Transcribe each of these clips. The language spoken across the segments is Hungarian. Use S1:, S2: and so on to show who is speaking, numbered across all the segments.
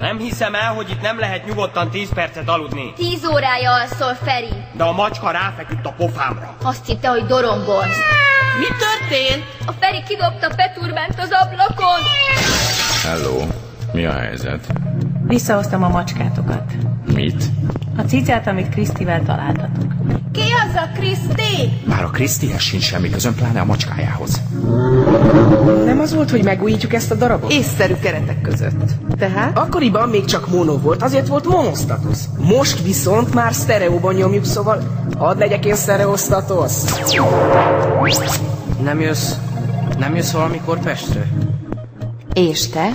S1: Nem hiszem el, hogy itt nem lehet nyugodtan 10 percet aludni.
S2: Tíz órája alszol, Feri.
S1: De a macska ráfeküdt a pofámra.
S2: Azt hitte, hogy dorongolsz.
S3: Mi történt?
S2: A Feri kidobta Peturbánt az ablakon.
S4: Hello, mi a helyzet?
S5: Visszahoztam a macskátokat.
S4: Mit?
S5: A cicát, amit Krisztivel találtatok.
S2: Ki az a Kriszti?
S4: Már a Krisztihez sincs semmi közön, pláne a macskájához.
S6: Nem az volt, hogy megújítjuk ezt a darabot?
S3: Észszerű keretek között. Tehát?
S6: Akkoriban még csak mono volt, azért volt monosztatusz. Most viszont már sztereóban nyomjuk, szóval hadd legyek én sztereosztatusz.
S7: Nem jössz, nem jössz valamikor Pestre?
S3: És te?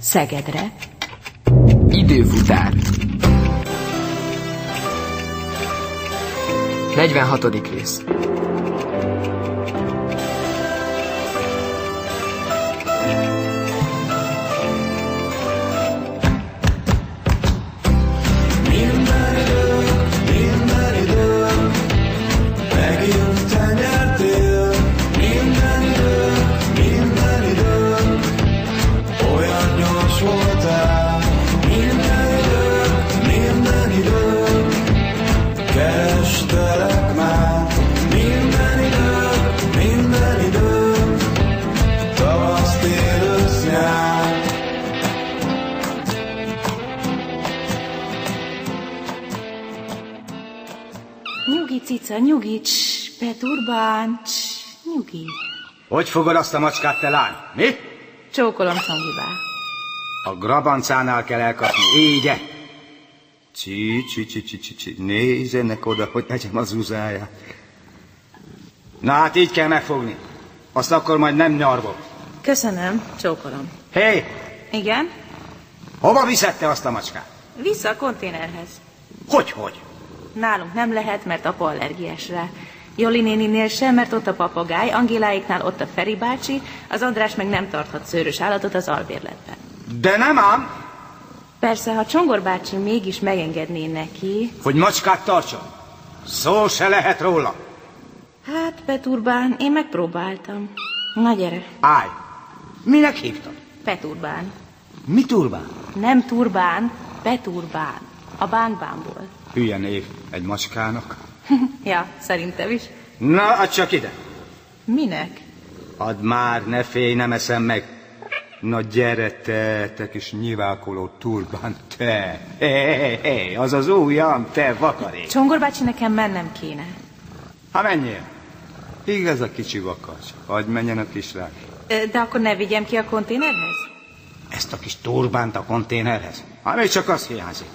S3: Szegedre?
S7: Időfutár. 46. rész.
S5: Nyugi, cica, nyugi, cs, Peturbán, cs, nyugi.
S8: Hogy fogod azt a macskát, te lány? Mi?
S5: Csókolom szangibá.
S8: A grabancánál kell elkapni, ígye! Csi, csi, csi, csi, csi, csi, nézzenek oda, hogy egyem az uzáját. Na hát így kell megfogni. Azt akkor majd nem nyargok.
S5: Köszönöm, csókolom.
S8: Hé, hey,
S5: Igen?
S8: hova viszed te azt a macskát?
S5: Vissza a konténerhez.
S8: Hogy, hogy?
S5: Nálunk nem lehet, mert apa allergiás rá. Joli néninél sem, mert ott a papagáj, Angéláiknál ott a Feri bácsi, az András meg nem tarthat szőrös állatot az albérletben.
S8: De nem ám,
S5: Persze, ha Csongor bácsi mégis megengedné neki,
S8: hogy macskát tartson. Szó se lehet róla.
S5: hát Peturbán, én megpróbáltam. Na gyere,
S8: Állj! Minek hívtad?
S5: Peturbán.
S8: Mi turbán?
S5: Nem turbán, Peturbán. A bánbánból.
S8: Hülye név egy macskának.
S5: ja, szerintem is.
S8: Na, add csak ide.
S5: Minek?
S8: Add már, ne félj, nem eszem meg. Na gyere te, te kis nyivákoló turbán, te. Hé, hé, hé, az az ujjam, te vakarék.
S5: Csongor bácsi, nekem mennem kéne.
S8: Ha menjél. Igaz a kicsi vakacs. Hagy menjen a kislány.
S5: Ö, De akkor ne vigyem ki a konténerhez?
S8: Ezt a kis turbánt a konténerhez. Ha még csak az hiányzik.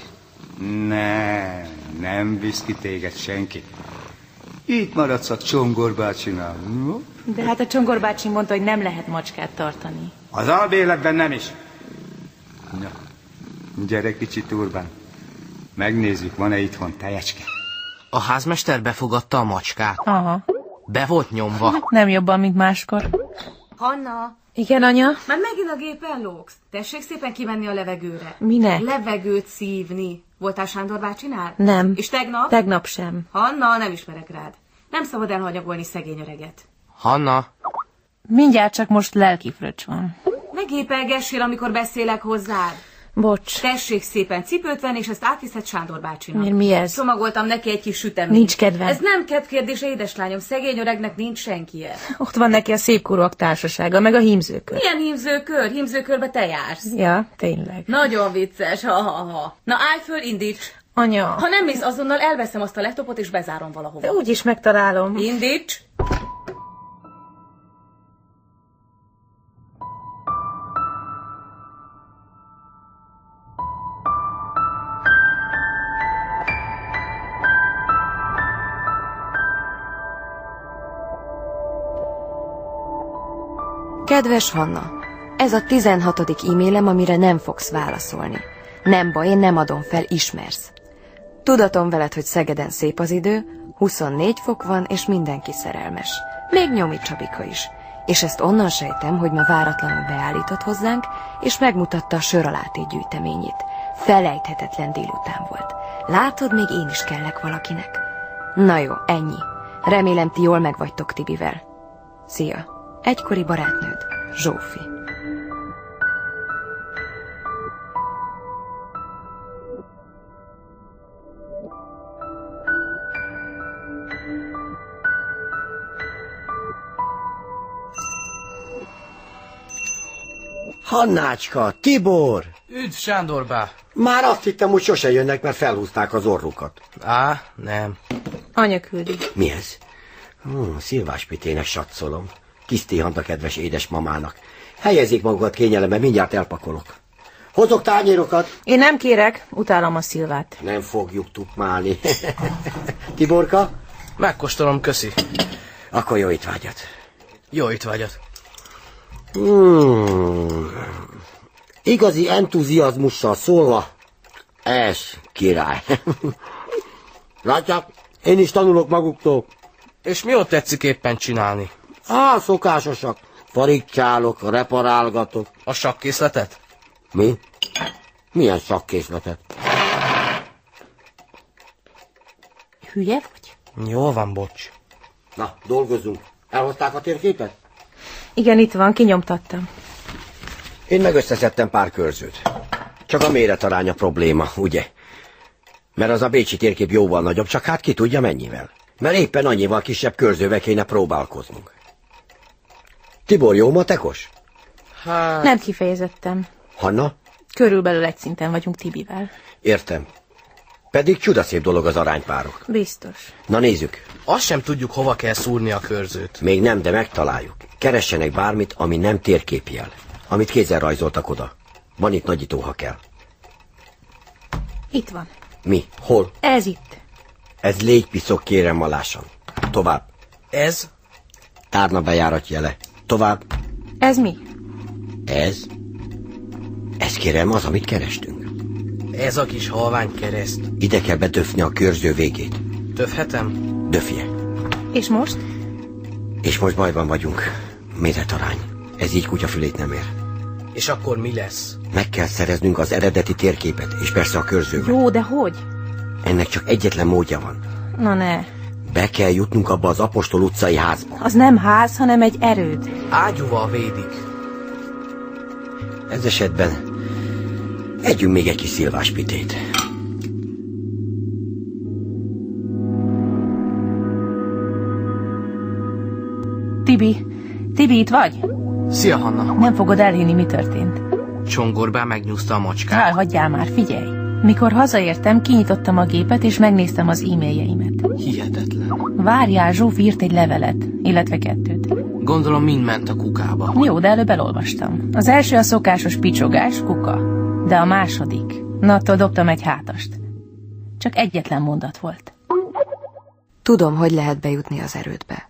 S8: Ne, nem visz ki téged senki. Itt maradsz a csongor bácsinál. No?
S5: De hát a Csongor bácsi mondta, hogy nem lehet macskát tartani.
S8: Az albéletben nem is. Na, gyere kicsi turbán. Megnézzük, van-e itthon tejecske.
S7: A házmester befogadta a macskát.
S5: Aha.
S7: Be volt nyomva.
S5: Nem jobban, mint máskor.
S3: Hanna,
S5: Igen, anya?
S3: már megint a gépen lógsz. Tessék szépen kimenni a levegőre.
S5: Minek?
S3: Levegőt szívni. Voltál Sándor bácsinál?
S5: Nem.
S3: És tegnap?
S5: Tegnap sem.
S3: Hanna, nem ismerek rád. Nem szabad elhanyagolni szegény öreget.
S7: Hanna,
S5: Mindjárt csak most lelki fröccs van.
S3: Ne gépelgessél, amikor beszélek hozzád.
S5: Bocs.
S3: Tessék szépen cipőt venni, és ezt átviszed Sándor bácsinak.
S5: Miért mi ez?
S3: Csomagoltam neki egy kis süteményt.
S5: Nincs kedvem.
S3: Ez nem kedvkérdés, édeslányom. Szegény öregnek nincs senkie.
S5: Ott van neki a szépkorúak társasága, meg a hímzőkör.
S3: Milyen hímzőkör? Hímzőkörbe te jársz.
S5: Ja, tényleg.
S3: Nagyon vicces, ha-ha-ha. Na állj föl, indíts.
S5: Anya,
S3: Ha nem mész azonnal, elveszem azt a laptopot, és bezárom valahova.
S5: úgy is megtalálom.
S3: Indíts!
S9: Kedves Hanna, ez a 16. e-mailem, amire nem fogsz válaszolni. Nem baj, én nem adom fel, ismersz. Tudatom veled, hogy Szegeden szép az idő, 24 fok van, és mindenki szerelmes. Még nyomi Csabika is. És ezt onnan sejtem, hogy ma váratlanul beállított hozzánk, és megmutatta a sör aláté gyűjteményét. Felejthetetlen délután volt. Látod, még én is kellek valakinek. Na jó, ennyi. Remélem, ti jól megvagytok Tibivel. Szia! Egykori barátnőd, Zsófi.
S10: Hannácska, Tibor!
S7: Üdv Sándor bá.
S10: Már azt hittem, hogy sose jönnek, mert felhúzták az orrukat.
S7: Á, nem.
S5: Anya küldi.
S10: Mi ez? Hmm, Szilvás Pitének satszolom. Kisztihant a kedves édesmamának. Helyezik magukat kényelembe, mindjárt elpakolok. Hozok tányérokat!
S5: Én nem kérek, utálom a szilvát.
S10: Nem fogjuk tupmálni. Tiborka,
S7: Megkóstolom, köszi.
S10: akkor jó étvágyat.
S7: Jó itt vagyod.
S10: Hmm. Igazi entuziazmussal szólva, ez király. Látják, én is tanulok maguktól.
S7: És mi ott tetszik éppen csinálni?
S10: Á, szokásosak. Farigcsálok, reparálgatok.
S7: A sakkészletet?
S10: Mi? Milyen szakkészletet?
S5: Hülye vagy?
S7: Jó van, bocs.
S10: Na, dolgozzunk. Elhozták a térképet?
S5: Igen, itt van, kinyomtattam.
S10: Én meg összeszedtem pár körzőt. Csak a méretarány a probléma, ugye? Mert az a bécsi térkép jóval nagyobb, csak hát ki tudja mennyivel. Mert éppen annyival kisebb körzővel kéne próbálkoznunk. Tibor, jó matekos?
S7: Hát...
S5: Nem kifejezettem.
S10: Hanna?
S5: Körülbelül egy szinten vagyunk Tibivel.
S10: Értem. Pedig csudaszép dolog az aránypárok.
S5: Biztos.
S10: Na nézzük.
S7: Azt sem tudjuk, hova kell szúrni a körzőt.
S10: Még nem, de megtaláljuk. Keressenek bármit, ami nem térképjel. Amit kézzel rajzoltak oda. Van itt nagyító, ha kell.
S5: Itt van.
S10: Mi? Hol?
S5: Ez itt.
S10: Ez légypiszok, kérem malásan. Tovább.
S7: Ez?
S10: Tárna bejárat jele. Tovább.
S5: Ez mi?
S10: Ez? Ez kérem az, amit kerestünk.
S7: Ez a kis halvány kereszt.
S10: Ide kell bedöfni a körző végét.
S7: Tövhetem?
S10: Döfje.
S5: És most?
S10: És most bajban vagyunk. Mézetarány. Ez így kutyafülét nem ér.
S7: És akkor mi lesz?
S10: Meg kell szereznünk az eredeti térképet, és persze a körzővel.
S5: Jó, de hogy?
S10: Ennek csak egyetlen módja van.
S5: Na ne,
S10: Be kell jutnunk abba az Apostol utcai házba.
S5: az nem ház, hanem egy erőd.
S7: Ágyúval védik.
S10: Ez esetben együnk még egy kis szilváspitét.
S5: Tibi, Tibi, itt vagy?
S7: Szia, Hanna.
S5: Nem fogod elhinni, mi történt.
S7: Csongorbá megnyúzta a macskát.
S5: Elhagyjál már, figyelj! Mikor hazaértem, kinyitottam a gépet, és megnéztem az e-mailjeimet.
S7: Hihetetlen.
S5: Várjál Zsóf írt egy levelet, illetve kettőt.
S7: Gondolom, mind ment a kukába.
S5: Jó, de előbb elolvastam. Az első a szokásos picsogás, kuka. De a második. Na, attól dobtam egy hátast. Csak egyetlen mondat volt.
S9: Tudom, hogy lehet bejutni az erődbe.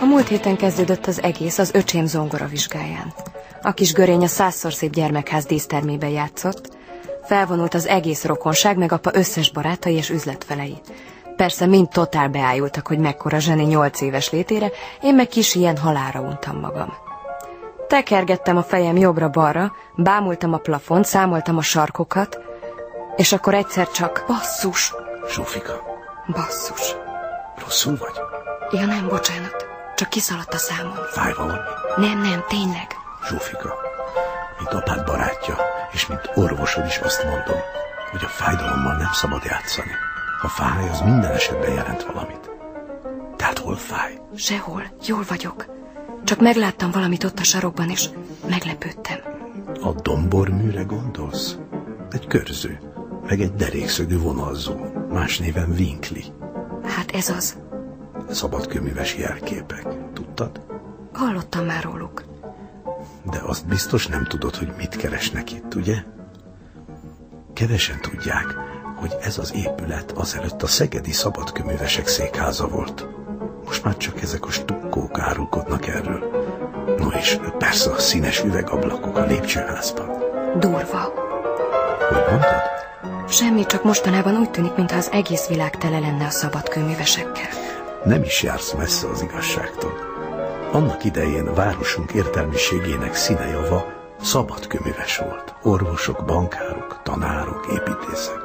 S9: A múlt héten kezdődött az egész az öcsém zongora vizsgáján. A kis görény a százszor szép gyermekház dísztermében játszott, felvonult az egész rokonság, meg apa összes barátai és üzletfelei. Persze mind totál beájultak, hogy mekkora zseni nyolc éves létére, én meg kis ilyen halára untam magam. Tekergettem a fejem jobbra-balra, bámultam a plafont, számoltam a sarkokat, és akkor egyszer csak basszus,
S4: Zsófika,
S9: basszus.
S4: rosszul vagy?
S9: Ja nem, bocsánat, csak kiszaladt a számom.
S4: Fáj valami?
S9: Nem, nem, tényleg.
S4: Zsófika, mint apád barátja, és mint orvosod is azt mondom, hogy a fájdalommal nem szabad játszani. Ha fáj, az minden esetben jelent valamit. Tehát hol fáj?
S9: Sehol, jól vagyok. Csak megláttam valamit ott a sarokban, és meglepődtem.
S4: A domborműre gondolsz? Egy körző, meg egy derékszögű vonalzó, más néven vinkli.
S9: Hát ez az.
S4: Szabadkőműves jelképek, tudtad?
S9: Hallottam már róluk.
S4: De azt biztos nem tudod, hogy mit keresnek itt, ugye? Kevesen tudják, hogy ez az épület azelőtt a Szegedi Szabadkőművesek székháza volt. Most már csak ezek a stukkók árulkodnak erről. No és persze a színes üvegablakok a lépcsőházban.
S9: Durva.
S4: Hogy mondtad?
S9: Semmi, csak mostanában úgy tűnik, mintha az egész világ tele lenne a szabadkőművesekkel.
S4: Nem is jársz messze az igazságtól. Annak idején városunk értelmiségének színejava szabadköműves volt. Orvosok, bankárok, tanárok, építészek.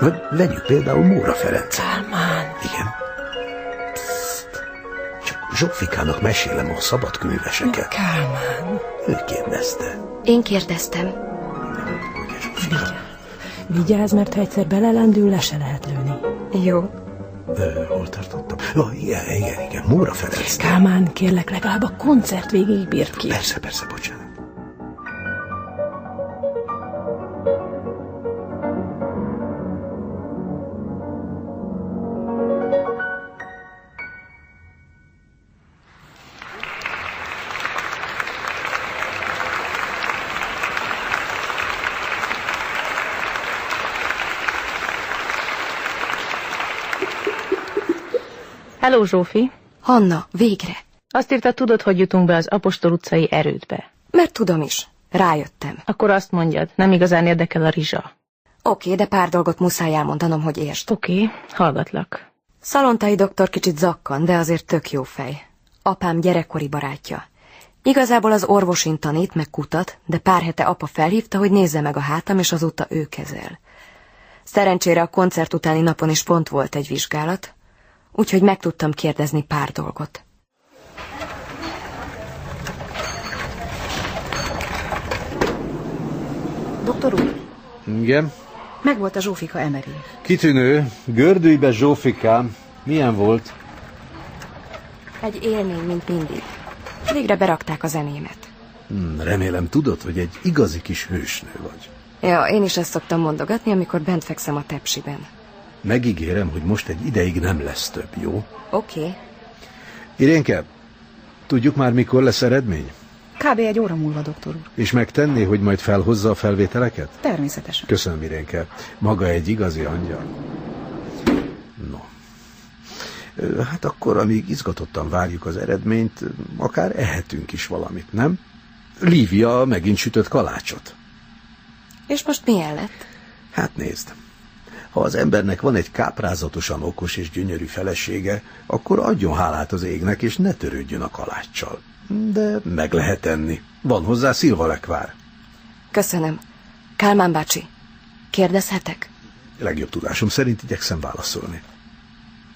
S4: Vagy vegyük például Móra Ferencet. Kálmán. Igen. Psst. Csak Zsófikának mesélem a szabadköműveseket. Kálmán. Ő kérdezte.
S9: Én kérdeztem.
S11: Vigyázz, mert ha egyszer belelendül, le se lehet lőni.
S9: Jó.
S4: Ö, hol tartottam? Ja, igen, igen, igen, Móra Ferenc.
S11: Kálmán, kérlek, legalább a koncert végig bírt ki.
S4: Persze, persze, bocsánat.
S5: Hello, Zsófi.
S9: Hanna, végre.
S5: Azt írta, tudod, hogy jutunk be az Apostol utcai erődbe.
S9: Mert tudom is. Rájöttem.
S5: Akkor azt mondjad, nem igazán érdekel a rizsa.
S9: Oké, de pár dolgot muszáj elmondanom, hogy értsd.
S5: Oké, hallgatlak.
S9: Szalontai doktor kicsit zakkan, de azért tök jó fej. Apám gyerekkori barátja. Igazából az orvosin tanít, meg kutat, de pár hete apa felhívta, hogy nézze meg a hátam, és azóta ő kezel. Szerencsére a koncert utáni napon is pont volt egy vizsgálat, úgyhogy meg tudtam kérdezni pár dolgot.
S12: Doktor úr,
S13: Igen.
S12: megvolt a Zsófika Emery.
S13: Kitűnő. Gördüljbe Zsófikám. Milyen volt?
S9: Egy élmény, mint mindig. Végre berakták a zenémet.
S4: Hm, Remélem tudod, hogy egy igazi kis hősnő vagy.
S9: Ja, én is ezt szoktam mondogatni, amikor bent fekszem a tepsiben.
S4: Megígérem, hogy most egy ideig nem lesz több, jó?
S9: Oké. Okay.
S13: Irénke, tudjuk már mikor lesz eredmény?
S12: Kb. egy óra múlva, doktor úr.
S13: És megtenné, hogy majd felhozza a felvételeket?
S12: Természetesen.
S13: Köszönöm, Irénke. Maga egy igazi angyal.
S4: No. Ö, Hát akkor, amíg izgatottan várjuk az eredményt, akár ehetünk is valamit, nem? Lívia megint sütött kalácsot.
S9: És most milyen lett?
S4: Hát nézd, ha az embernek van egy káprázatosan okos és gyönyörű felesége, akkor adjon hálát az égnek, és ne törődjön a kaláccsal. De meg lehet enni. Van hozzá szilvalekvár.
S9: Köszönöm. Kálmán bácsi, kérdezhetek?
S4: Legjobb tudásom szerint igyekszem válaszolni.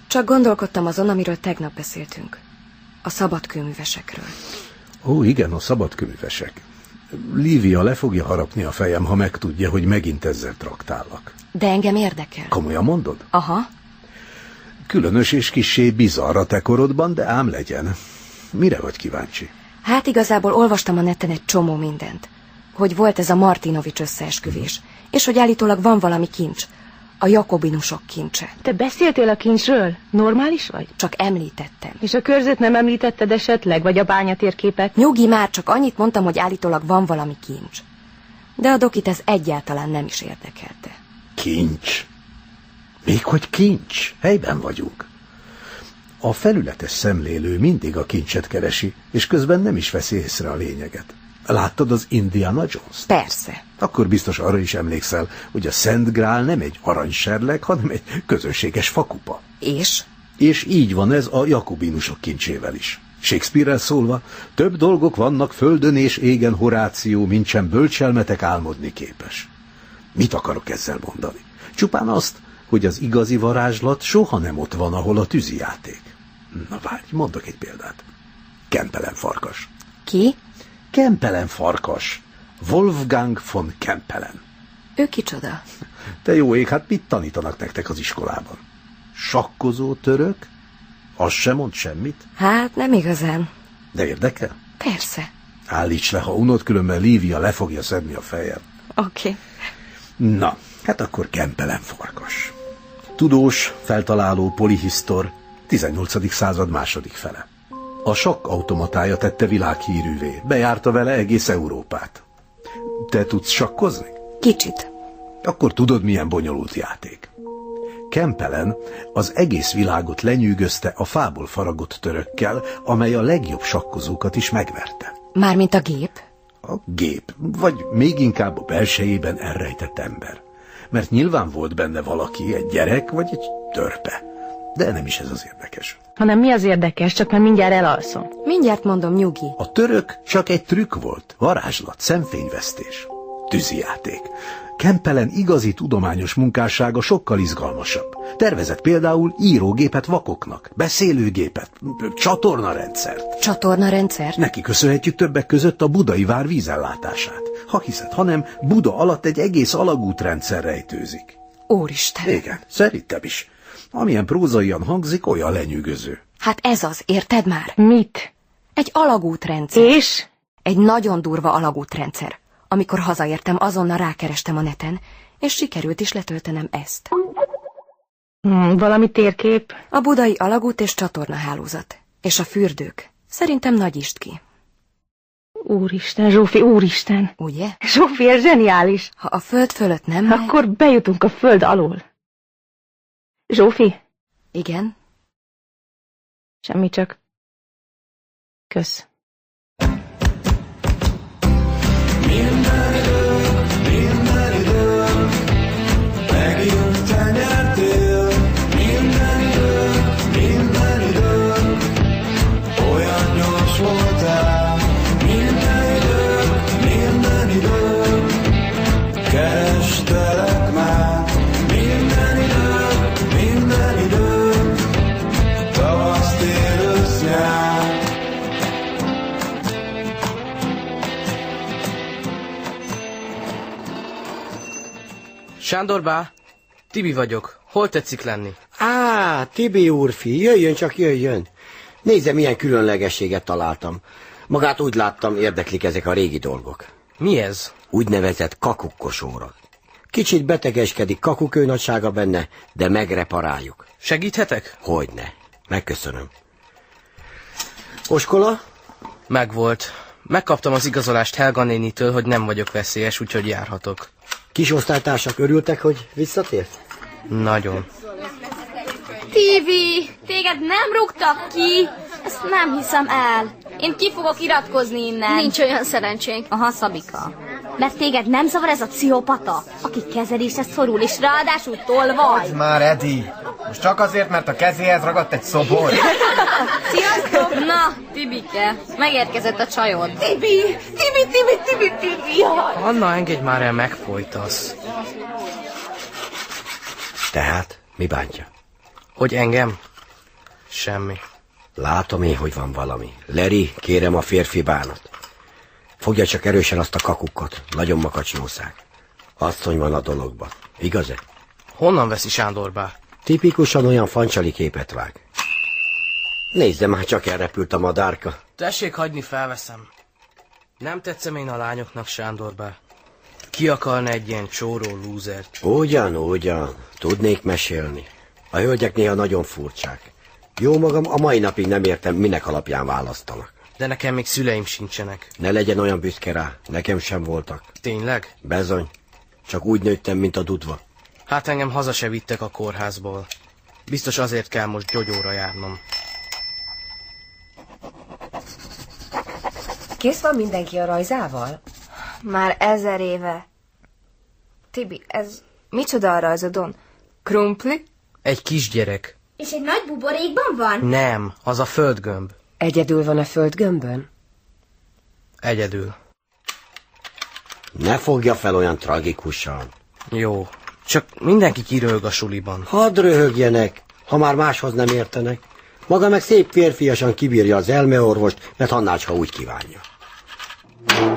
S9: Csak gondolkodtam azon, amiről tegnap beszéltünk. A szabadkőművesekről.
S4: Ó, igen, a szabadkövüvesek. Lívia le fogja harapni a fejem, ha megtudja, hogy megint ezzel traktállak.
S9: De engem érdekel.
S4: Komolyan mondod?
S9: Aha.
S4: Különös és kissé bizarr a te korodban, de ám legyen. Mire vagy kíváncsi?
S9: Hát igazából olvastam a neten egy csomó mindent. Hogy volt ez a Martinovics összeesküvés, és hogy állítólag van valami kincs. A jakobinusok kincse.
S5: Te beszéltél a kincsről? Normális vagy?
S9: Csak említettem.
S5: És a körzet nem említetted esetleg, vagy a bányatérképet?
S9: Nyugi már, csak annyit mondtam, hogy állítólag van valami kincs. De a dokit ez egyáltalán nem is érdekelte.
S4: Kincs. Még hogy kincs. Helyben vagyunk. A felületes szemlélő mindig a kincset keresi, és közben nem is veszi észre a lényeget. Láttad az Indiana jones
S9: Persze.
S4: Akkor biztos arra is emlékszel, hogy a Szent Grál nem egy aranyserleg, hanem egy közönséges fakupa.
S9: És?
S4: És így van ez a jakobinusok kincsével is. Shakespeare-rel szólva, több dolgok vannak földön és égen Horáció, mint sem bölcselmetek álmodni képes. Mit akarok ezzel mondani? Csupán azt, hogy az igazi varázslat soha nem ott van, ahol a tűzijáték. Na várj, mondok egy példát. Kempelen farkas.
S9: Ki?
S4: Kempelen farkas. Wolfgang von Kempelen.
S9: Ő kicsoda?
S4: Te jó ég, hát mit tanítanak nektek az iskolában? Sakkozó török? Az sem mond semmit?
S9: Hát nem igazán.
S4: De érdekel?
S9: Persze.
S4: Állíts le, ha unod, különben Lívia le fogja szedni a fejem.
S9: Oké. Okay.
S4: Na, hát akkor Kempelen farkas. Tudós, feltaláló, polihisztor, 18. század második fele. A sakk automatája tette világhírűvé, bejárta vele egész Európát. Te tudsz sakkozni?
S9: Kicsit.
S4: Akkor tudod, milyen bonyolult játék. Kempelen az egész világot lenyűgözte a fából faragott törökkel, amely a legjobb sakkozókat is megverte.
S9: Mármint a gép?
S4: A gép, vagy még inkább a belsejében elrejtett ember. Mert nyilván volt benne valaki, egy gyerek vagy egy törpe. De nem is ez az érdekes.
S14: Hanem mi az érdekes, csak már mindjárt elalszom.
S9: Mindjárt mondom, nyugi.
S4: A török csak egy trükk volt, varázslat, szemfényvesztés, tűzijáték. Kempelen igazi tudományos munkássága sokkal izgalmasabb. Tervezett például írógépet vakoknak, beszélőgépet, csatornarendszert.
S9: Csatornarendszer?
S4: Neki köszönhetjük többek között a budai vár vízellátását. Ha hiszed, hanem Buda alatt egy egész alagútrendszer rejtőzik.
S9: Úristen!
S4: Igen, szerintem is. Amilyen prózaian hangzik, olyan lenyűgöző.
S9: Hát ez az, érted már?
S14: Mit?
S9: Egy alagútrendszer.
S14: És?
S9: Egy nagyon durva alagútrendszer. Amikor hazaértem, azonnal rákerestem a neten, és sikerült is letöltenem ezt.
S14: Hmm, valami térkép?
S9: A budai alagút és csatornahálózat. És a fürdők. Szerintem nagy ist ki.
S14: Úristen, Zsófi, úristen!
S9: Ugye?
S14: Zsófi, ez zseniális!
S9: Ha a föld fölött nem megy...
S14: Akkor bejutunk a föld alól. Zsófi?
S9: Igen?
S14: Semmi csak. Kösz.
S15: Kerestelek már minden idő, minden idő, tavasz, tél, ősz, nyár.
S7: Sándor bá, Tibi vagyok. Hol tetszik lenni?
S10: Á, Tibi úrfi, jöjjön csak jöjjön. Nézze, milyen különlegességet találtam. Magát úgy láttam, érdeklik ezek a régi dolgok.
S7: Mi ez?
S10: Úgynevezett kakukkosóra. Kicsit betegeskedik kakukő nagysága benne, de megreparáljuk.
S7: Segíthetek?
S10: Hogyne. Megköszönöm. Oskola?
S7: Megvolt. Megkaptam az igazolást Helga nénitől, hogy nem vagyok veszélyes, úgyhogy járhatok.
S10: Kis osztálytársak örültek, hogy visszatért?
S7: Nagyon.
S2: Tivi, téged nem rúgtak ki? Ezt nem hiszem el. Én ki fogok iratkozni innen. Nincs olyan szerencsénk. Aha, Szabika. Mert téged nem zavar ez a pszichopata, aki kezelésre szorul, és ráadásul tolvaj.
S16: Már Edi, most csak azért, mert a kezéhez ragadt egy szobor.
S2: Sziasztok! Na, Tibike, megérkezett a csajod.
S17: Tibi, Tibi, Tibi, Tibi, Tibi, jaj!
S7: Anna, engedj már el, megfojtasz.
S10: Tehát, mi bántja?
S7: Hogy engem? Semmi.
S10: Látom én, hogy van valami. Leri, kérem a férfi bánat. Fogja csak erősen azt a kakukkot. Nagyon makacs jószág. Asszony van a dologban. Igaz-e?
S7: Honnan veszi Sándor bá?
S10: Tipikusan olyan fancsali képet vág. Nézze már, csak elrepült a madárka.
S7: Tessék hagyni, felveszem. Nem tetszem én a lányoknak, Sándor bá. Ki akarna egy ilyen csóró lúzert?
S10: Ugyan, ugyan. Tudnék mesélni. A hölgyek néha nagyon furcsák. Jó magam, a mai napig nem értem, minek alapján választanak.
S7: De nekem még szüleim sincsenek.
S10: Ne legyen olyan büszke rá, nekem sem voltak.
S7: Tényleg?
S10: Bezony. Csak úgy nőttem, mint a dudva.
S7: Hát engem haza se vittek a kórházból. Biztos azért kell most gyógyóra járnom.
S18: Kész van mindenki a rajzával?
S19: Már ezer éve. Tibi, ez micsoda a rajzodon? Krumpli?
S7: Egy kisgyerek.
S19: És egy nagy buborékban van?
S7: Nem, az a földgömb.
S18: Egyedül van a földgömbön?
S7: Egyedül.
S10: Ne fogja fel olyan tragikusan.
S7: Jó. Csak mindenki kiröhög a suliban.
S10: Hadd röhögjenek, ha már máshoz nem értenek. Maga meg szép férfiasan kibírja az elmeorvost, mert Hannácska úgy kívánja.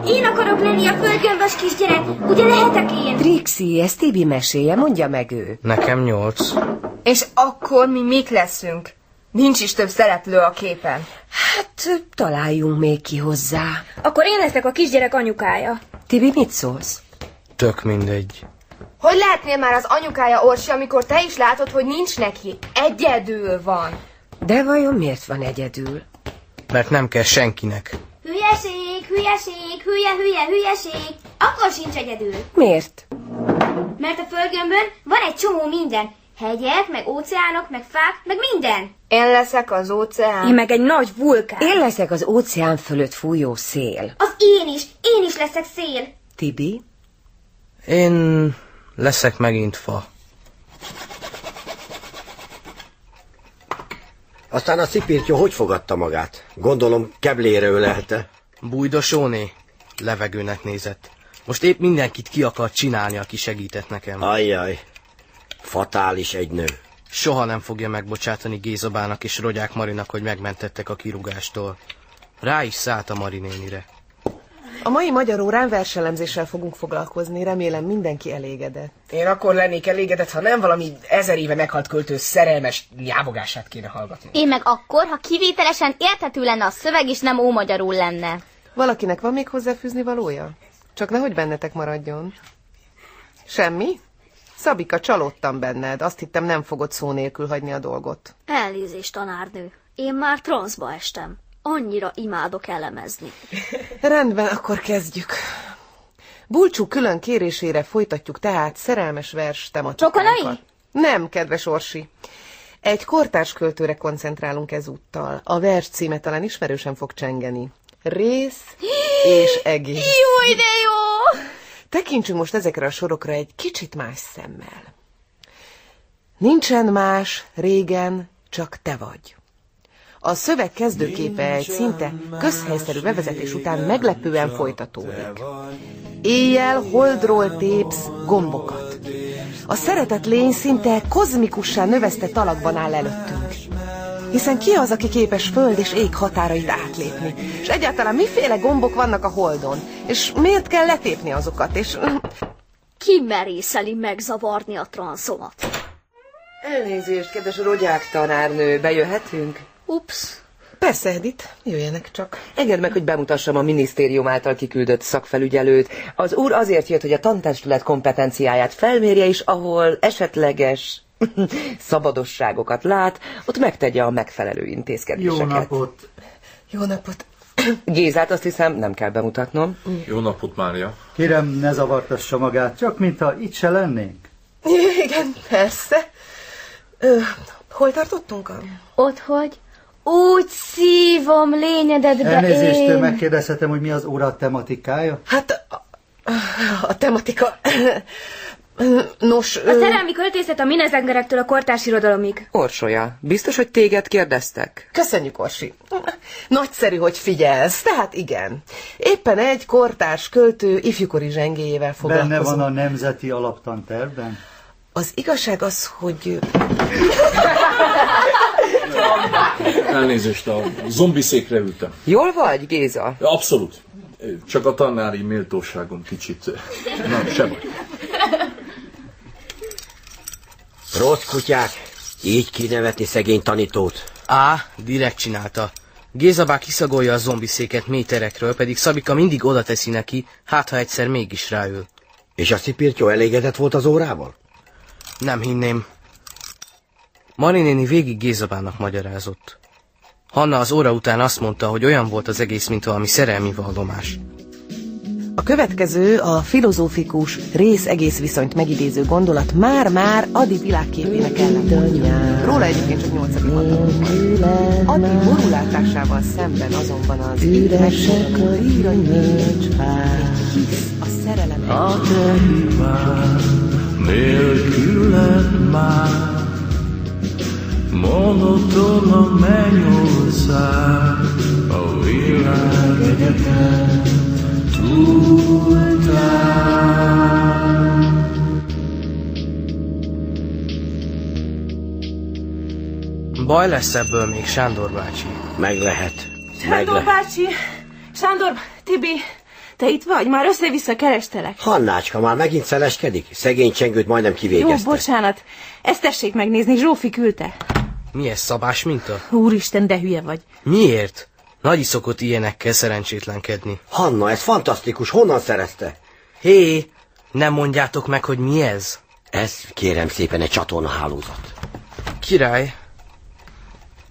S19: Én akarok lenni a földgömbös kisgyerek, ugye lehetek én?
S18: Trixi, ez Tibi meséje, mondja meg ő.
S7: Nekem nyolc.
S19: És akkor mi mik leszünk? Nincs is több szereplő a képen.
S18: Hát, találjunk még ki hozzá.
S19: Akkor én leszek a kisgyerek anyukája.
S18: Tibi, mit szólsz?
S7: Tök mindegy.
S19: Hogy lehetnél már az anyukája Orsi, amikor te is látod, hogy nincs neki? Egyedül van.
S18: De vajon miért van egyedül?
S7: Mert nem kell senkinek.
S20: Hülyeség, hülyeség, hülye, hülye, hülyeség. Akkor sincs egyedül.
S18: Miért?
S20: Mert a földgömbön van egy csomó minden. Hegyek, meg óceánok, meg fák, meg minden.
S19: Én leszek az óceán. Én meg egy nagy vulkán.
S18: Én leszek az óceán fölött fújó szél.
S20: Az én is, én is leszek szél.
S18: Tibi?
S7: Én leszek megint fa.
S10: Aztán a szipirtyó hogy fogadta magát? Gondolom keblére ölelte.
S7: Bújdosóné? Levegőnek nézett. Most épp mindenkit ki akar csinálni, aki segített nekem.
S10: Ajjaj, fatális egy nő.
S7: Soha nem fogja megbocsátani Gézabának és Rogyák Marinak, hogy megmentettek a kirúgástól. Rá is szállt a Mari nénire.
S21: A mai magyar órán verselemzéssel fogunk foglalkozni, remélem mindenki elégedett.
S6: Én akkor lennék elégedett, ha nem valami ezer éve meghalt költő szerelmes nyávogását kéne hallgatni.
S2: Én meg akkor, ha kivételesen érthető lenne a szöveg, és nem ómagyarul lenne.
S21: Valakinek van még hozzáfűzni valója? Csak nehogy bennetek maradjon. Semmi? Szabika, csalódtam benned. Azt hittem, nem fogod szó nélkül hagyni a dolgot.
S22: Elnézést, tanárnő. Én már transzba estem. Annyira imádok elemezni.
S21: Rendben, akkor kezdjük. Bulcsú külön kérésére folytatjuk tehát szerelmes vers tematikánkat.
S2: Csokonai?
S21: Nem, kedves Orsi. Egy kortárs költőre koncentrálunk ezúttal. A vers címe talán ismerősen fog csengeni. Rész és egész.
S2: Jó, de jó!
S21: Tekintsünk most ezekre a sorokra egy kicsit más szemmel. Nincsen más, régen, csak te vagy. A szöveg kezdőképe egy szinte közhelyszerű bevezetés után meglepően folytatódik. Éjjel holdról tépsz gombokat. A szeretett lény szinte kozmikussá növesztett alakban áll előttünk. Hiszen ki az, aki képes föld és ég határait átlépni? És egyáltalán miféle gombok vannak a holdon? És miért kell letépni azokat? És
S22: Ki merészeli megzavarni a transzomat?
S21: Elnézést, kedves rogyák tanárnő, bejöhetünk?
S22: Ups,
S21: Persze, Edith, jöjjenek csak. Engedd meg, hogy bemutassam a minisztérium által kiküldött szakfelügyelőt. Az úr azért jött, hogy a tantestület kompetenciáját felmérje is, ahol esetleges szabadosságokat lát, ott megtegye a megfelelő intézkedéseket.
S23: Jó napot!
S21: Jó napot! Gézát azt hiszem nem kell bemutatnom.
S24: Jó napot, Mária.
S23: Kérem, ne zavartassa magát, csak mintha itt se lennénk.
S21: Igen, persze. Ö, hol tartottunk? A...
S22: Ott hogy? Úgy szívom lényedetbe
S23: Elnézést,
S22: én.
S23: megkérdezhetem, hogy mi az óra tematikája?
S21: Hát a, a tematika... Nos...
S20: A szerelmi költészet a minezengerektől a kortárs irodalomig.
S21: Orsolya, biztos, hogy téged kérdeztek? Köszönjük, Orsi. Nagyszerű, hogy figyelsz, tehát igen. Éppen egy kortárs költő ifjúkori zsengéjével foglalkozom.
S23: Benne van a nemzeti alaptantervben?
S21: Az igazság az, hogy...
S24: Elnézést, a zombi székre ültem.
S21: Jól vagy, Géza?
S24: Abszolút. Csak a tanári méltóságom kicsit... Nem, sem.
S10: Rossz kutyák, így kinevetni szegény tanítót.
S7: Á, direkt csinálta. Gézabá kiszagolja a zombi széket méterekről, pedig Szabika mindig oda teszi neki, hát ha egyszer mégis ráül.
S10: És a szipirtyó elégedett volt az órával?
S7: Nem hinném. Mari néni végig Gézabának magyarázott. Hanna az óra után azt mondta, hogy olyan volt az egész, mint valami szerelmi vallomás.
S21: A következő, a filozófikus, rész-egész viszonyt megidéző gondolat már-már Adi világképének ellen Róla egyébként csak 8. Adi borulátásával szemben azonban az üresek a írany nincs hisz a szerelem
S15: A te hibád nélküled már Monoton a mennyország A világ egyetem túltál
S7: Baj lesz ebből még, Sándor bácsi.
S10: Meg lehet.
S5: Sándor bácsi! Sándor, Tibi, te itt vagy? Már össze-vissza kerestelek.
S10: Hannácska már megint szeleskedik? Szegény csengőt majdnem
S5: Jó,
S10: kivégezte.
S5: bocsánat. Ezt tessék megnézni, Zsófi küldte.
S7: Mi ez, szabás minta?
S5: Úristen, de hülye vagy.
S7: Miért? Nagy szokott ilyenekkel szerencsétlenkedni.
S10: Hanna, ez fantasztikus, honnan szerezte?
S7: Hé, nem mondjátok meg, hogy mi ez?
S10: Ez kérem szépen egy csatornahálózat.
S7: Király.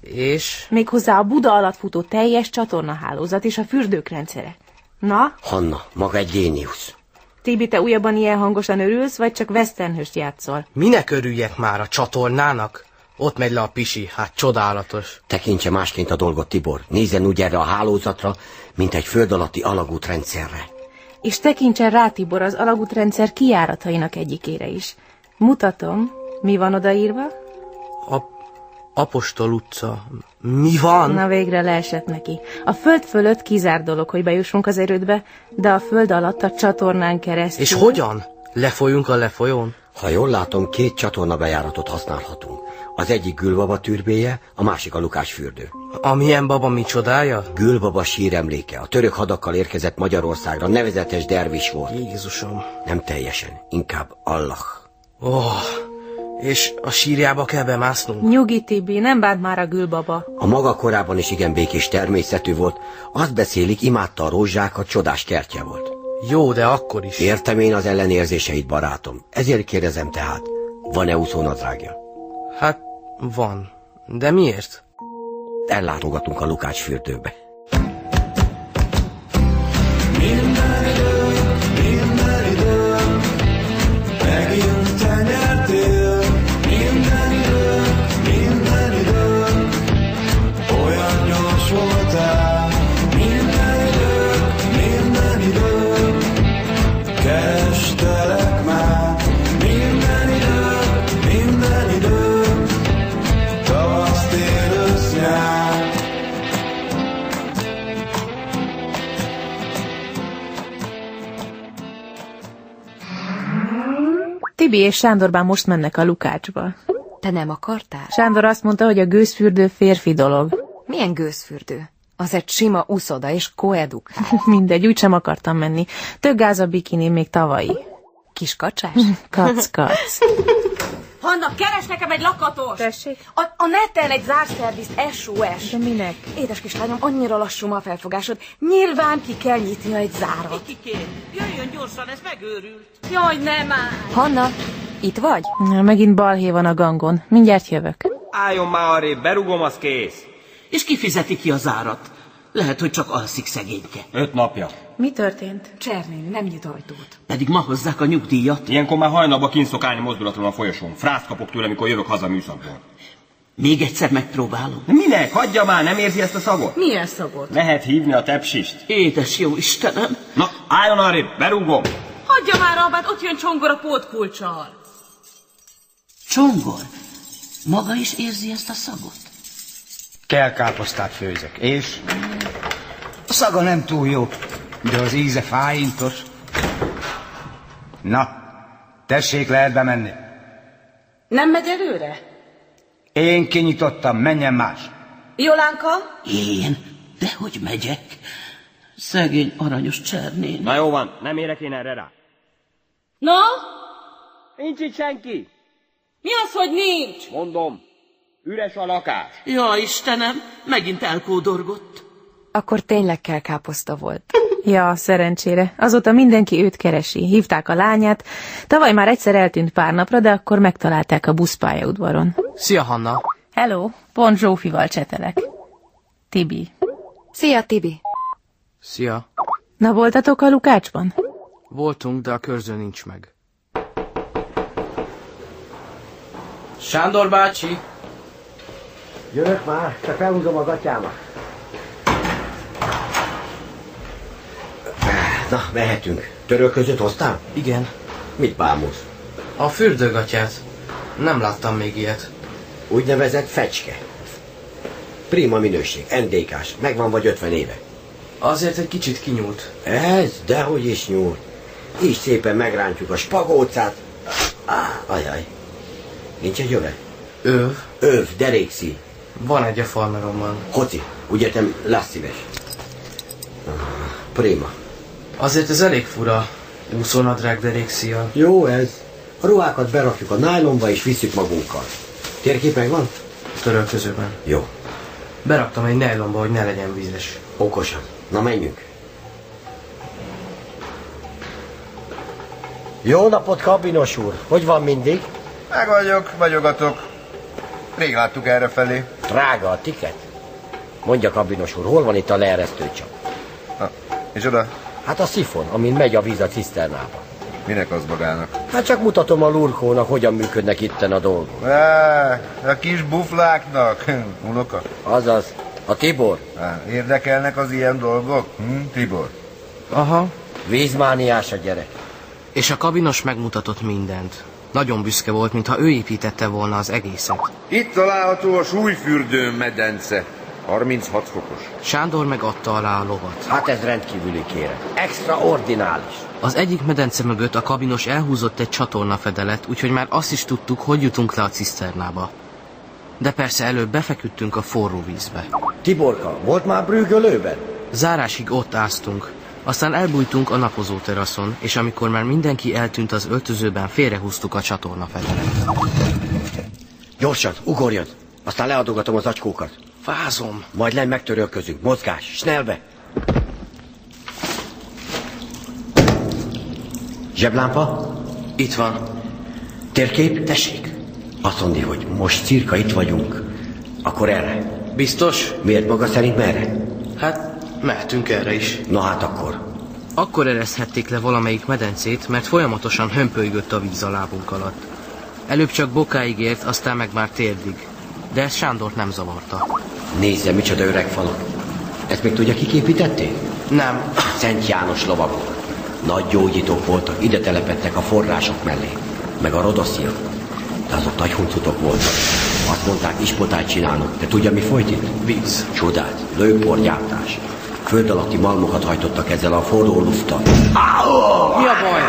S7: És?
S5: Méghozzá a Buda alatt futó teljes csatornahálózat és a fürdők rendszere. Na,
S10: Hanna, maga egy géniusz.
S5: Tibi, te újabban ilyen hangosan örülsz, vagy csak westernhőst játszol?
S7: Minek örüljek már a csatornának? Ott megy le a pisi, hát csodálatos.
S10: Tekintse másként a dolgot, Tibor. Nézzen úgy erre a hálózatra, mint egy föld alatti alagútrendszerre.
S5: És tekintsen rá Tibor az alagútrendszer kiáratainak egyikére is. Mutatom, mi van odaírva?
S7: A Apostol utca. Mi van?
S5: Na végre leesett neki. A föld fölött kizár dolog, hogy bejussunk az erődbe, de a föld alatt a csatornán keresztül...
S7: És hogyan? Lefolyunk a lefolyón?
S10: Ha jól látom, két csatorna bejáratot használhatunk. Az egyik Gülbaba türbéje, a másik a Lukás fürdő.
S7: Amilyen baba mi csodája?
S10: Gülbaba síremléke. A török hadakkal érkezett Magyarországra, nevezetes dervis volt.
S7: Jézusom.
S10: Nem teljesen, inkább Allah.
S7: Ó, oh, és a sírjába kell bemásznunk?
S5: Nyugi, Tibi, nem bánt már a gülbaba.
S10: A maga korában is igen békés természetű volt. Azt beszélik, imádta a rózsákat, csodás kertje volt.
S7: Jó, de akkor is.
S10: Értem én az ellenérzéseit, barátom. Ezért kérdezem tehát, van-e úszónadrágja?
S7: Hát, van. De miért?
S10: Ellátogatunk a Lukács fürdőbe.
S15: Kerestelek már minden idő, minden idő, tavasz, tél, ősz, nyár.
S5: Tibi és Sándorbán most mennek a Lukácsba.
S9: Te nem akartál?
S5: Sándor azt mondta, hogy a gőzfürdő férfi dolog.
S9: Milyen gőzfürdő? Az egy sima uszoda és koeduk.
S5: Mindegy, úgysem akartam menni. Tök gáz a bikini még tavalyi.
S9: Kis kacsás?
S5: Kac, kac.
S17: Hanna, keres nekem egy lakatos!
S5: Tessék?
S17: A, a neten egy zárszervizt SOS.
S5: De minek?
S17: Édes kislányom, annyira lassú ma a felfogásod. Nyilván ki kell nyitnia egy zárat.
S1: Kikém, jöjjön gyorsan, ez megőrült.
S17: Jaj, nem már!
S9: Hanna, itt vagy?
S5: Na, Megint balhé van a gangon. Mindjárt jövök.
S3: Álljon már arrébb, berugom, az kész.
S1: És ki fizeti ki az árat? Lehet, hogy csak alszik szegényke.
S3: Öt napja.
S5: Mi történt?
S17: Csernén, nem nyit ajtót.
S1: Pedig ma hozzák a nyugdíjat.
S3: Ilyenkor már hajnalba kint szok állni mozdulatlan a folyosón. Frászt kapok tőle, amikor jövök haza a műszakból.
S1: Még egyszer megpróbálom.
S3: Minek? Hagyja már, nem érzi ezt a szagot?
S17: Milyen szagot?
S3: Lehet hívni a tepsist.
S1: Édes jó Istenem!
S3: Na, álljon arrébb, berúgom.
S17: Hagyja már, Albát, ott jön Csongor a pótkulcsal.
S1: Csongor, maga is érzi ezt a szagot?
S8: Kell káposztát főzek. És? A szaga nem túl jó, de az íze fájintos. Na, tessék, lehet bemenni.
S17: Nem megy előre?
S8: Én kinyitottam, menjen más.
S17: Jolánka?
S1: Én? Dehogy megyek? Szegény aranyos csernén.
S3: Na jó van, nem érek én erre rá.
S17: No?
S3: Nincs itt senki.
S17: Mi az, hogy nincs?
S3: Mondom, üres a lakás.
S1: Ja, Istenem, megint elkódorgott.
S9: Akkor tényleg kell káposzta volt.
S5: Ja, szerencsére. Azóta mindenki őt keresi. Hívták a lányát. Tavaly már egyszer eltűnt pár napra, de akkor megtalálták a buszpályaudvaron.
S7: Szia, Hanna!
S5: Hello, pont Zsófival csetelek. Tibi.
S9: Szia, Tibi!
S7: Szia.
S5: Na voltatok a Lukácsban?
S7: Voltunk, de a körző nincs meg. Sándor bácsi!
S10: Jövök már, csak felhúzom a gatyámat. Na, mehetünk. Töröl között hoztál?
S7: Igen.
S10: Mit bámulsz?
S7: A fürdőgatyát. Nem láttam még ilyet.
S10: Úgynevezett fecske. Prima minőség, NDK-s, megvan vagy 50 éve.
S7: Azért egy kicsit kinyúlt.
S10: Ez, dehogy is nyúl. Így szépen megrántjuk a spagócát. Á, ajaj. Nincs egy öve?
S7: Öv?
S10: Öv, derékszín.
S7: Van egy a farmeromban.
S10: Hoci, ugye te lesz szíves. Prima.
S7: Azért ez elég fura. Úszónadrág derékszia.
S10: Jó ez. A ruhákat berakjuk a nájlomba és visszük magunkkal. Térkép megvan?
S7: Törölközőben.
S10: Jó.
S7: Beraktam egy nájlomba, hogy ne legyen vízes.
S10: Okosan. Na menjünk. Jó napot, kabinos úr! Hogy van mindig?
S11: Meg vagyok, vagyogatok. Rég láttuk erre felé.
S10: Drága a tiket. Mondja, kabinos úr, hol van itt a leeresztő csak?
S11: Na, és oda?
S10: Hát a szifon, amin megy a víz a ciszternába.
S11: Minek az magának?
S10: Hát csak mutatom a lurkónak, hogyan működnek itten a dolgok.
S11: Á, a kis bufláknak. Unoka?
S10: Azaz, a Tibor.
S11: Á, Hát, érdekelnek az ilyen dolgok? Hm, Tibor?
S7: Aha.
S10: Vízmániás a gyerek.
S7: És a kabinos megmutatott mindent. Nagyon büszke volt, mintha ő építette volna az egészet.
S11: Itt található a súlyfürdő medence. 36 fokos.
S7: Sándor meg adta alá a lovat.
S10: Hát ez rendkívüli kérem. Extraordinális.
S7: Az egyik medence mögött a kabinos elhúzott egy csatornafedelet, úgyhogy már azt is tudtuk, hogy jutunk le a ciszternába. De persze előbb befeküdtünk a forró vízbe.
S10: Tiborka, volt már brügölőben?
S7: Zárásig ott áztunk. Aztán elbújtunk a napozó teraszon, és amikor már mindenki eltűnt az öltözőben, félrehúztuk a csatornafedelet.
S10: Gyorsan, ugorjon! Aztán leadogatom az acskókat.
S7: Fázom.
S10: Majd lenn megtörölközünk. Mozgás, snellbe! Zseblámpa?
S7: Itt van.
S10: Térkép? Tessék. Azt mondja, hogy most cirka itt vagyunk. Akkor erre.
S7: Biztos?
S10: Miért maga szerint merre?
S7: Hát, mehetünk erre is.
S10: Na hát akkor.
S7: Akkor ereszthették le valamelyik medencét, mert folyamatosan hömpölygött a víz a lábunk alatt. Előbb csak bokáig ért, aztán meg már térdig. De ez Sándort nem zavarta.
S10: Nézze, micsoda öreg falak. Ezt még tudja, kik építették?
S7: Nem.
S10: Szent János lovagok. Nagy gyógyítók voltak, ide telepettek a források mellé. Meg a rodosziak. De azok nagy huncutok voltak. Azt mondták, ispotát csinálnak. De tudja, mi folyt itt?
S7: Víz.
S10: Csodát, lőporgyártás. Föld alatti malmokat hajtottak ezzel a forró luftal.
S7: Mi a baj?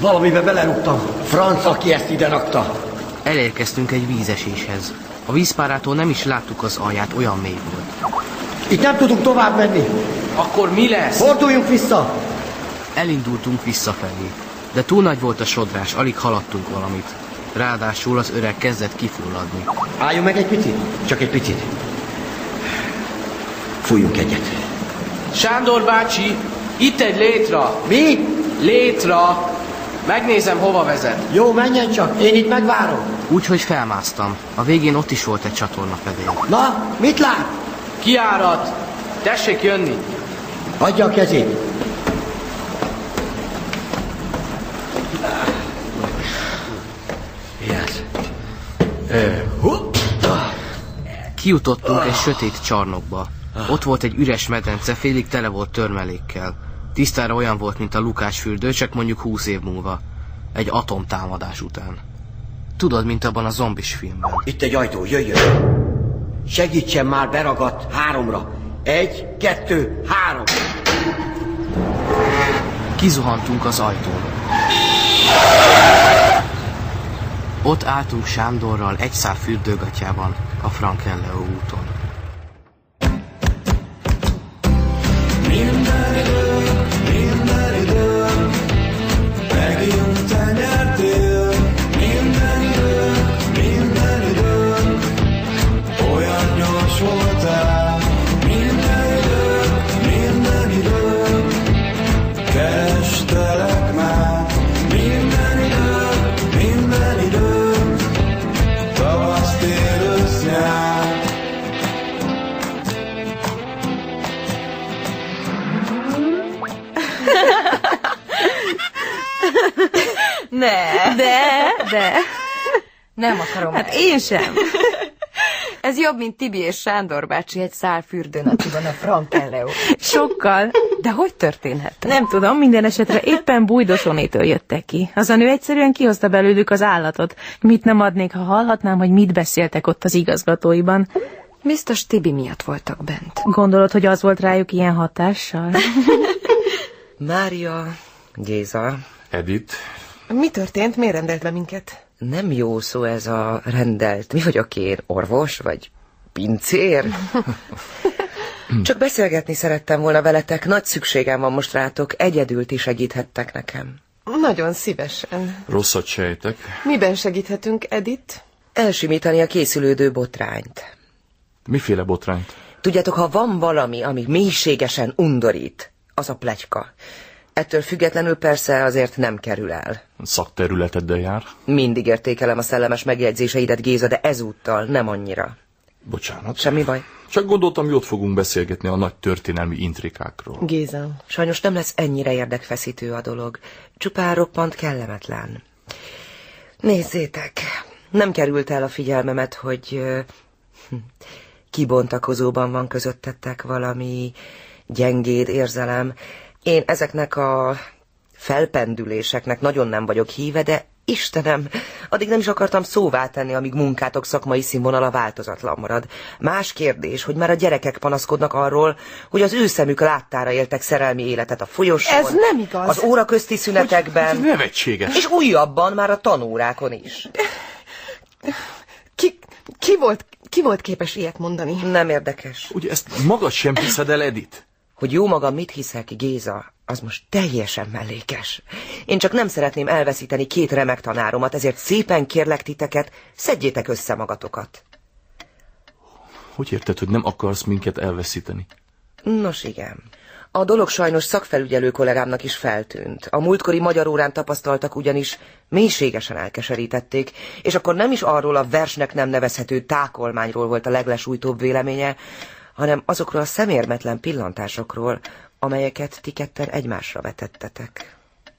S10: Valamibe belerúgtam. Franc, aki ezt ide rakta.
S7: Elérkeztünk egy vízeséshez. A vízpárától nem is láttuk az alját, olyan mély volt.
S10: Itt nem tudunk tovább menni.
S7: Akkor mi lesz?
S10: Forduljunk vissza!
S7: Elindultunk visszafelé, de túl nagy volt a sodrás, alig haladtunk valamit. Ráadásul az öreg kezdett kifulladni.
S10: Álljunk meg egy picit? Csak egy picit. Fújjunk egyet.
S7: Sándor bácsi, itt egy létra.
S10: Mi?
S7: Létra. Megnézem, hova vezet.
S10: Jó, menjen csak, én itt megvárom.
S7: Úgyhogy felmásztam. A végén ott is volt egy csatorna fedél.
S10: Na, mit lát?
S7: Kiárat! Tessék jönni!
S10: Adja a kezét. Yes. Ö, hú.
S7: Kijutottunk egy sötét csarnokba.
S10: Ah.
S7: Ott volt egy üres medence, félig tele volt törmelékkel. Tisztára olyan volt, mint a Lukás fürdő, csak mondjuk húsz év múlva. Egy atomtámadás után. Tudod, mint abban a zombis filmben.
S10: Itt egy ajtó, jöjjön. Segítsen már, beragadt háromra. Egy, kettő, három.
S7: Kizuhantunk az ajtón. Ott álltunk Sándorral egy szár fürdőgatjában, a Frankenleo úton.
S15: Minden idő, minden idő, megint te nyertél. Minden idő, minden idő, olyan gyors voltál. Minden idő, minden idő, kerestelek már. Minden idő, minden idő, tavasz, tél, ősz, nyár.
S5: Ne.
S9: De, de. Nem akarom
S5: Hát
S9: ezt.
S5: én sem.
S9: Ez jobb, mint Tibi és Sándor bácsi egy szál fürdőnapiban a Frankenleo.
S5: Sokkal.
S9: De hogy történhet?
S5: Nem tudom, minden esetre éppen bújdosonétől jöttek ki. Az a nő egyszerűen kihozta belőlük az állatot. Mit nem adnék, ha hallhatnám, hogy mit beszéltek ott az igazgatóiban.
S9: Biztos Tibi miatt voltak bent.
S5: Gondolod, hogy az volt rájuk ilyen hatással?
S18: Mária, Géza,
S24: Edith,
S21: Mi történt? Miért rendelt be minket?
S18: nem jó szó ez a rendelt. Mi vagyok én, orvos vagy pincér? Csak beszélgetni szerettem volna veletek, nagy szükségem van most rátok, egyedül ti segíthettek nekem.
S21: Nagyon szívesen.
S24: rosszat sejtek.
S21: Miben segíthetünk, Edith?
S18: Elsimítani a készülődő botrányt.
S24: Miféle botrányt?
S18: Tudjátok, ha van valami, ami mélységesen undorít, az a plegyka. Ettől függetlenül persze azért nem kerül el.
S24: Szakterületeddel jár.
S18: Mindig értékelem a szellemes megjegyzéseidet, Géza, de ezúttal nem annyira.
S24: Bocsánat.
S18: Semmi baj.
S24: Csak gondoltam, jót fogunk beszélgetni a nagy történelmi intrikákról.
S21: Géza.
S18: Sajnos nem lesz ennyire érdekfeszítő a dolog. Csupán roppant kellemetlen. Nézzétek, nem került el a figyelmemet, hogy ö, hm, kibontakozóban van közöttetek valami gyengéd érzelem. Én ezeknek a felpendüléseknek nagyon nem vagyok híve, de Istenem, addig nem is akartam szóvá tenni, amíg munkátok szakmai színvonala változatlan marad. Más kérdés, hogy már a gyerekek panaszkodnak arról, hogy az ő szemük láttára éltek szerelmi életet a folyosón.
S24: Ez nem igaz.
S18: Az óraközti szünetekben.
S24: Hogy- nevetséges.
S18: És újabban már a tanórákon is.
S24: Ki, ki, volt, ki volt képes ilyet mondani?
S18: Nem érdekes.
S24: Ugye ezt magad sem hiszed el,
S18: Edith? Hogy jó magam mit hiszek, Géza, az most teljesen mellékes. Én csak nem szeretném elveszíteni két remek tanáromat, ezért szépen kérlek titeket, szedjétek össze magatokat.
S24: Hogy érted, hogy nem akarsz minket elveszíteni?
S18: Nos igen. A dolog sajnos szakfelügyelő kollégámnak is feltűnt. A múltkori magyar órán tapasztaltak ugyanis mélységesen elkeserítették, és akkor nem is arról a versnek nem nevezhető tákolmányról volt a leglesújtóbb véleménye, hanem azokról a szemérmetlen pillantásokról, amelyeket ti ketten egymásra vetettetek.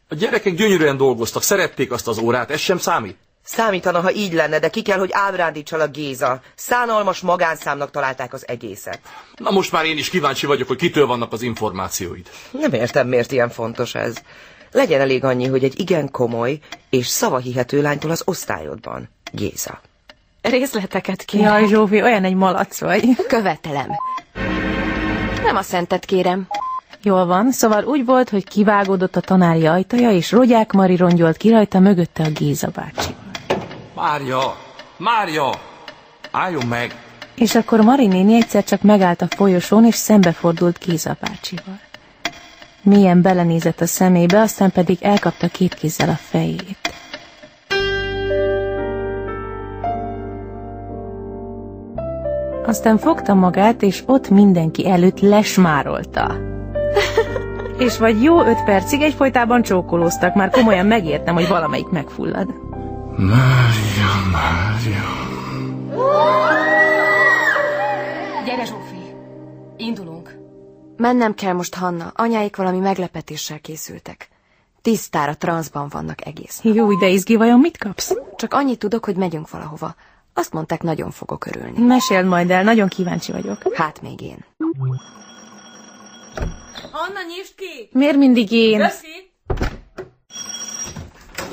S24: A gyerekek gyönyörűen dolgoztak, szerették azt az órát, ez sem számít.
S18: Számítana, ha így lenne, de ki kell, hogy ábrándítsal a Géza. Szánalmas magánszámnak találták az egészet.
S24: Na most már én is kíváncsi vagyok, hogy kitől vannak az információid.
S18: Nem értem, miért ilyen fontos ez. Legyen elég annyi, hogy egy igen komoly és szavahihető lánytól az osztályodban. Géza.
S5: Részleteket
S18: Jaj,
S5: Zsófi, olyan egy malac vagy.
S6: Követelem. Nem a szentet kérem.
S5: Jól van, szóval úgy volt, hogy kivágódott a tanári ajtaja, és Rogyák Mari rongyolt ki rajta mögötte a Géza bácsi.
S24: Mária! Mária! Álljon meg!
S5: És akkor Mari néni egyszer csak megállt a folyosón, és szembefordult Géza bácsival. Milyen belenézett a szemébe, aztán pedig elkapta két kézzel a fejét. Aztán fogta magát, és ott mindenki előtt lesmárolta. És vagy jó öt percig egyfolytában csókolóztak, már komolyan megértem, hogy valamelyik megfullad.
S24: Mária, Mária...
S6: Gyere, Zsófi! Indulunk. Mennem kell most, Hanna. Anyáik valami meglepetéssel készültek. Tisztára transzban vannak egész.
S5: Jó, de izgi vajon mit kapsz?
S6: Csak annyit tudok, hogy megyünk valahova. Azt mondták, nagyon fogok örülni.
S5: Meséld majd el, nagyon kíváncsi vagyok.
S6: Hát még én.
S3: Anna, nyisd ki!
S5: Miért mindig én?
S3: Köszi!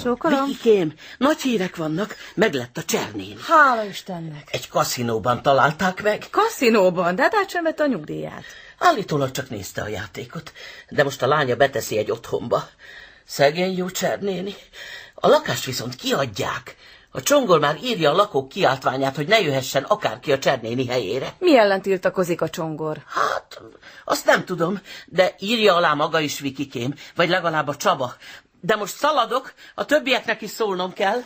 S5: Csókolom.
S17: Vikikém, nagy hírek vannak, meglett a csernén.
S3: Hála Istennek!
S17: Egy kaszinóban találták meg.
S3: Kaszinóban, de hát átsömbett a nyugdíját.
S17: Állítólag csak nézte a játékot, de most a lánya beteszi egy otthonba. Szegény jó csernéni. A lakást viszont kiadják. A csongor már írja a lakók kiáltványát, hogy ne jöhessen akárki a csernéni helyére.
S3: Mi ellen tiltakozik a csongor?
S17: Hát, Azt nem tudom, de írja alá maga is, Vikikém, vagy legalább a Csaba. De most szaladok, a többieknek is szólnom kell.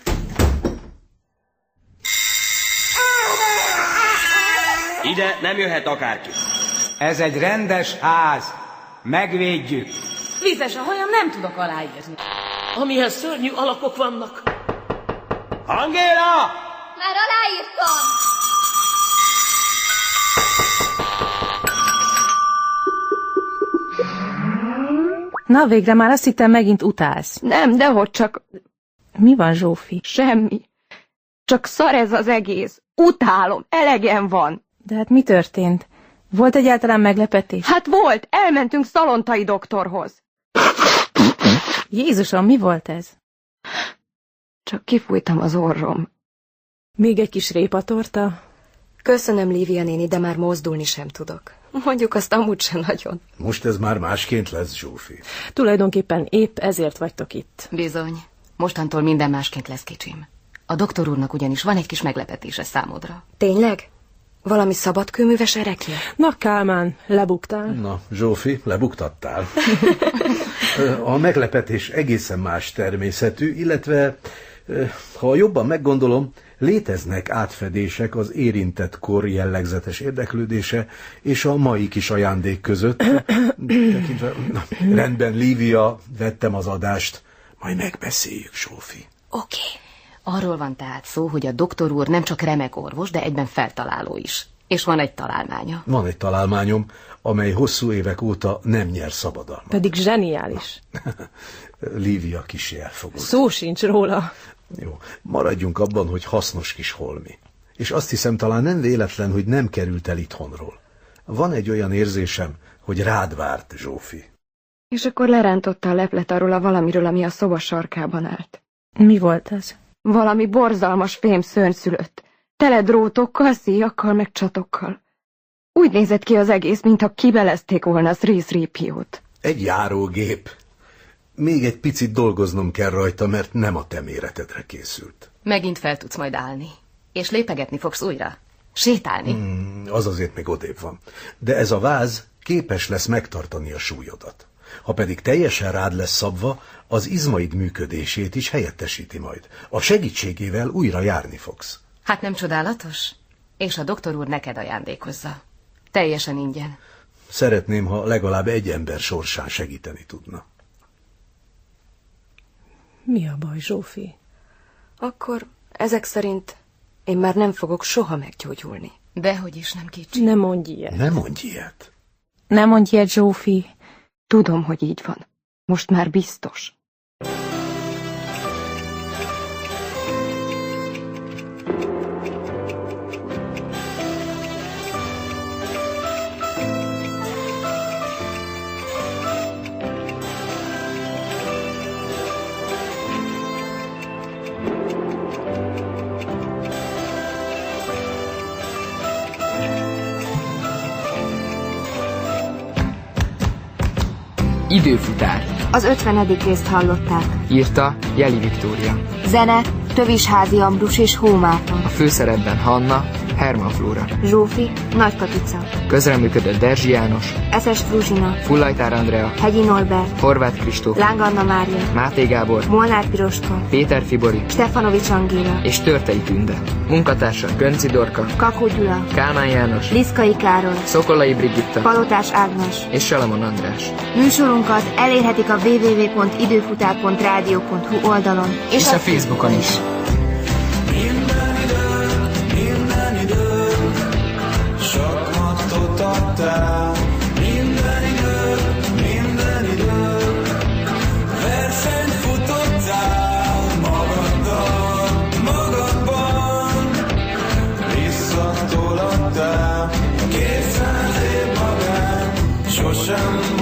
S25: Ide nem jöhet akárki.
S8: Ez egy rendes ház. Megvédjük.
S3: Vizes a hajam, nem tudok aláírni.
S17: Amihez szörnyű alakok vannak.
S8: Angéla!
S2: Már aláírtam!
S5: Na, végre már azt hittem, megint utálsz.
S9: Nem, dehogy csak...
S5: Mi van, Zsófi?
S9: Semmi. Csak szar ez az egész. Utálom, elegem van.
S5: De hát mi történt? Volt egyáltalán meglepetés?
S9: Hát volt, elmentünk szalontai doktorhoz.
S5: Jézusom, mi volt ez?
S9: Csak kifújtam az orrom.
S5: Még egy kis répatorta?
S6: Köszönöm, Lívia néni, de már mozdulni sem tudok. Mondjuk azt amúgy sem nagyon.
S4: Most ez már másként lesz, Zsófi.
S6: Tulajdonképpen épp ezért vagytok itt. Bizony. Mostantól minden másként lesz kicsim. A doktor úrnak ugyanis van egy kis meglepetése számodra. Tényleg? Valami szabadkőműves erekje?
S9: Na, Kálmán, lebuktál.
S4: Na, Zsófi, lebuktattál. Ö, A meglepetés egészen más természetű, illetve, ö, ha jobban meggondolom, léteznek átfedések az érintett kor jellegzetes érdeklődése és a mai kis ajándék között. Tekintve, na, rendben, Lívia, vettem az adást. Majd megbeszéljük, Zsófi.
S6: Oké. Arról van tehát szó, hogy a doktor úr nem csak remek orvos, de egyben feltaláló is. És van egy találmánya.
S4: Van egy találmányom, amely hosszú évek óta nem nyer szabadalmat.
S9: Pedig zseniális.
S4: Lívia kis elfogult.
S9: Szó sincs róla.
S4: Jó, maradjunk abban, hogy hasznos kis holmi. És azt hiszem talán nem véletlen, hogy nem került el itthonról. Van egy olyan érzésem, hogy rád várt, Zsófi.
S9: És akkor lerántotta a leplet arról a valamiről, ami a szoba sarkában állt.
S5: Mi volt az?
S9: Valami borzalmas fém szörnyszülött. Tele drótokkal, szíjakkal, meg csatokkal. Úgy nézett ki az egész, mintha kibelezték volna az részrépiót.
S4: Egy járógép. Még egy picit dolgoznom kell rajta, mert nem a te méretedre készült.
S6: Megint fel tudsz majd állni. És lépegetni fogsz újra. Sétálni.
S4: Hmm, az azért még odébb van. De ez a váz képes lesz megtartani a súlyodat. Ha pedig teljesen rád lesz szabva, az izmaid működését is helyettesíti majd. A segítségével újra járni fogsz.
S6: Hát nem csodálatos? És a doktor úr neked ajándékozza. Teljesen ingyen.
S4: Szeretném, ha legalább egy ember sorsán segíteni tudna.
S5: Mi a baj, Zsófi?
S26: Akkor ezek szerint én már nem fogok soha meggyógyulni.
S6: Dehogy is nem kicsi.
S5: Ne mondj ilyet.
S4: Ne mondj ilyet.
S5: Ne mondj ilyet, Zsófi.
S9: Tudom, hogy így van. Most már biztos.
S26: Időfutár.
S19: Az 50. részt hallották.
S16: Írta Jeli Viktória.
S19: Zene, Tövisházi Ambrus és Hómáton.
S16: A főszerepben Hanna, Herman Flóra.
S19: Zsófi, Nagy Katica.
S16: Közreműködött Derzsi János,
S19: Eszes Fruzsina.
S16: Fullajtár Andrea,
S19: Hegyi Norbert.
S16: Horváth Kristóf,
S19: Láng Anna Mária.
S16: Máté Gábor,
S19: Molnár Piroska.
S16: Péter Fibori
S19: Stefanovics Angéla.
S16: és Törtei Tünde. Munkatársa Gönci Dorka,
S19: Kakó Gyula.
S16: Kálmán János,
S19: Liszkai Károly.
S16: Szokolai Brigitta
S19: Palotás Ágnes.
S16: és Salamon András.
S19: Műsorunkat elérhetik a www.időfutár.rádió.hu oldalon.
S16: És a Facebookon is.
S15: Minden idő, sok matot adtál. Minden idő, minden idő, versenyt futottál magaddal, magadban. Visszatoladtál, készen lév magán, sosem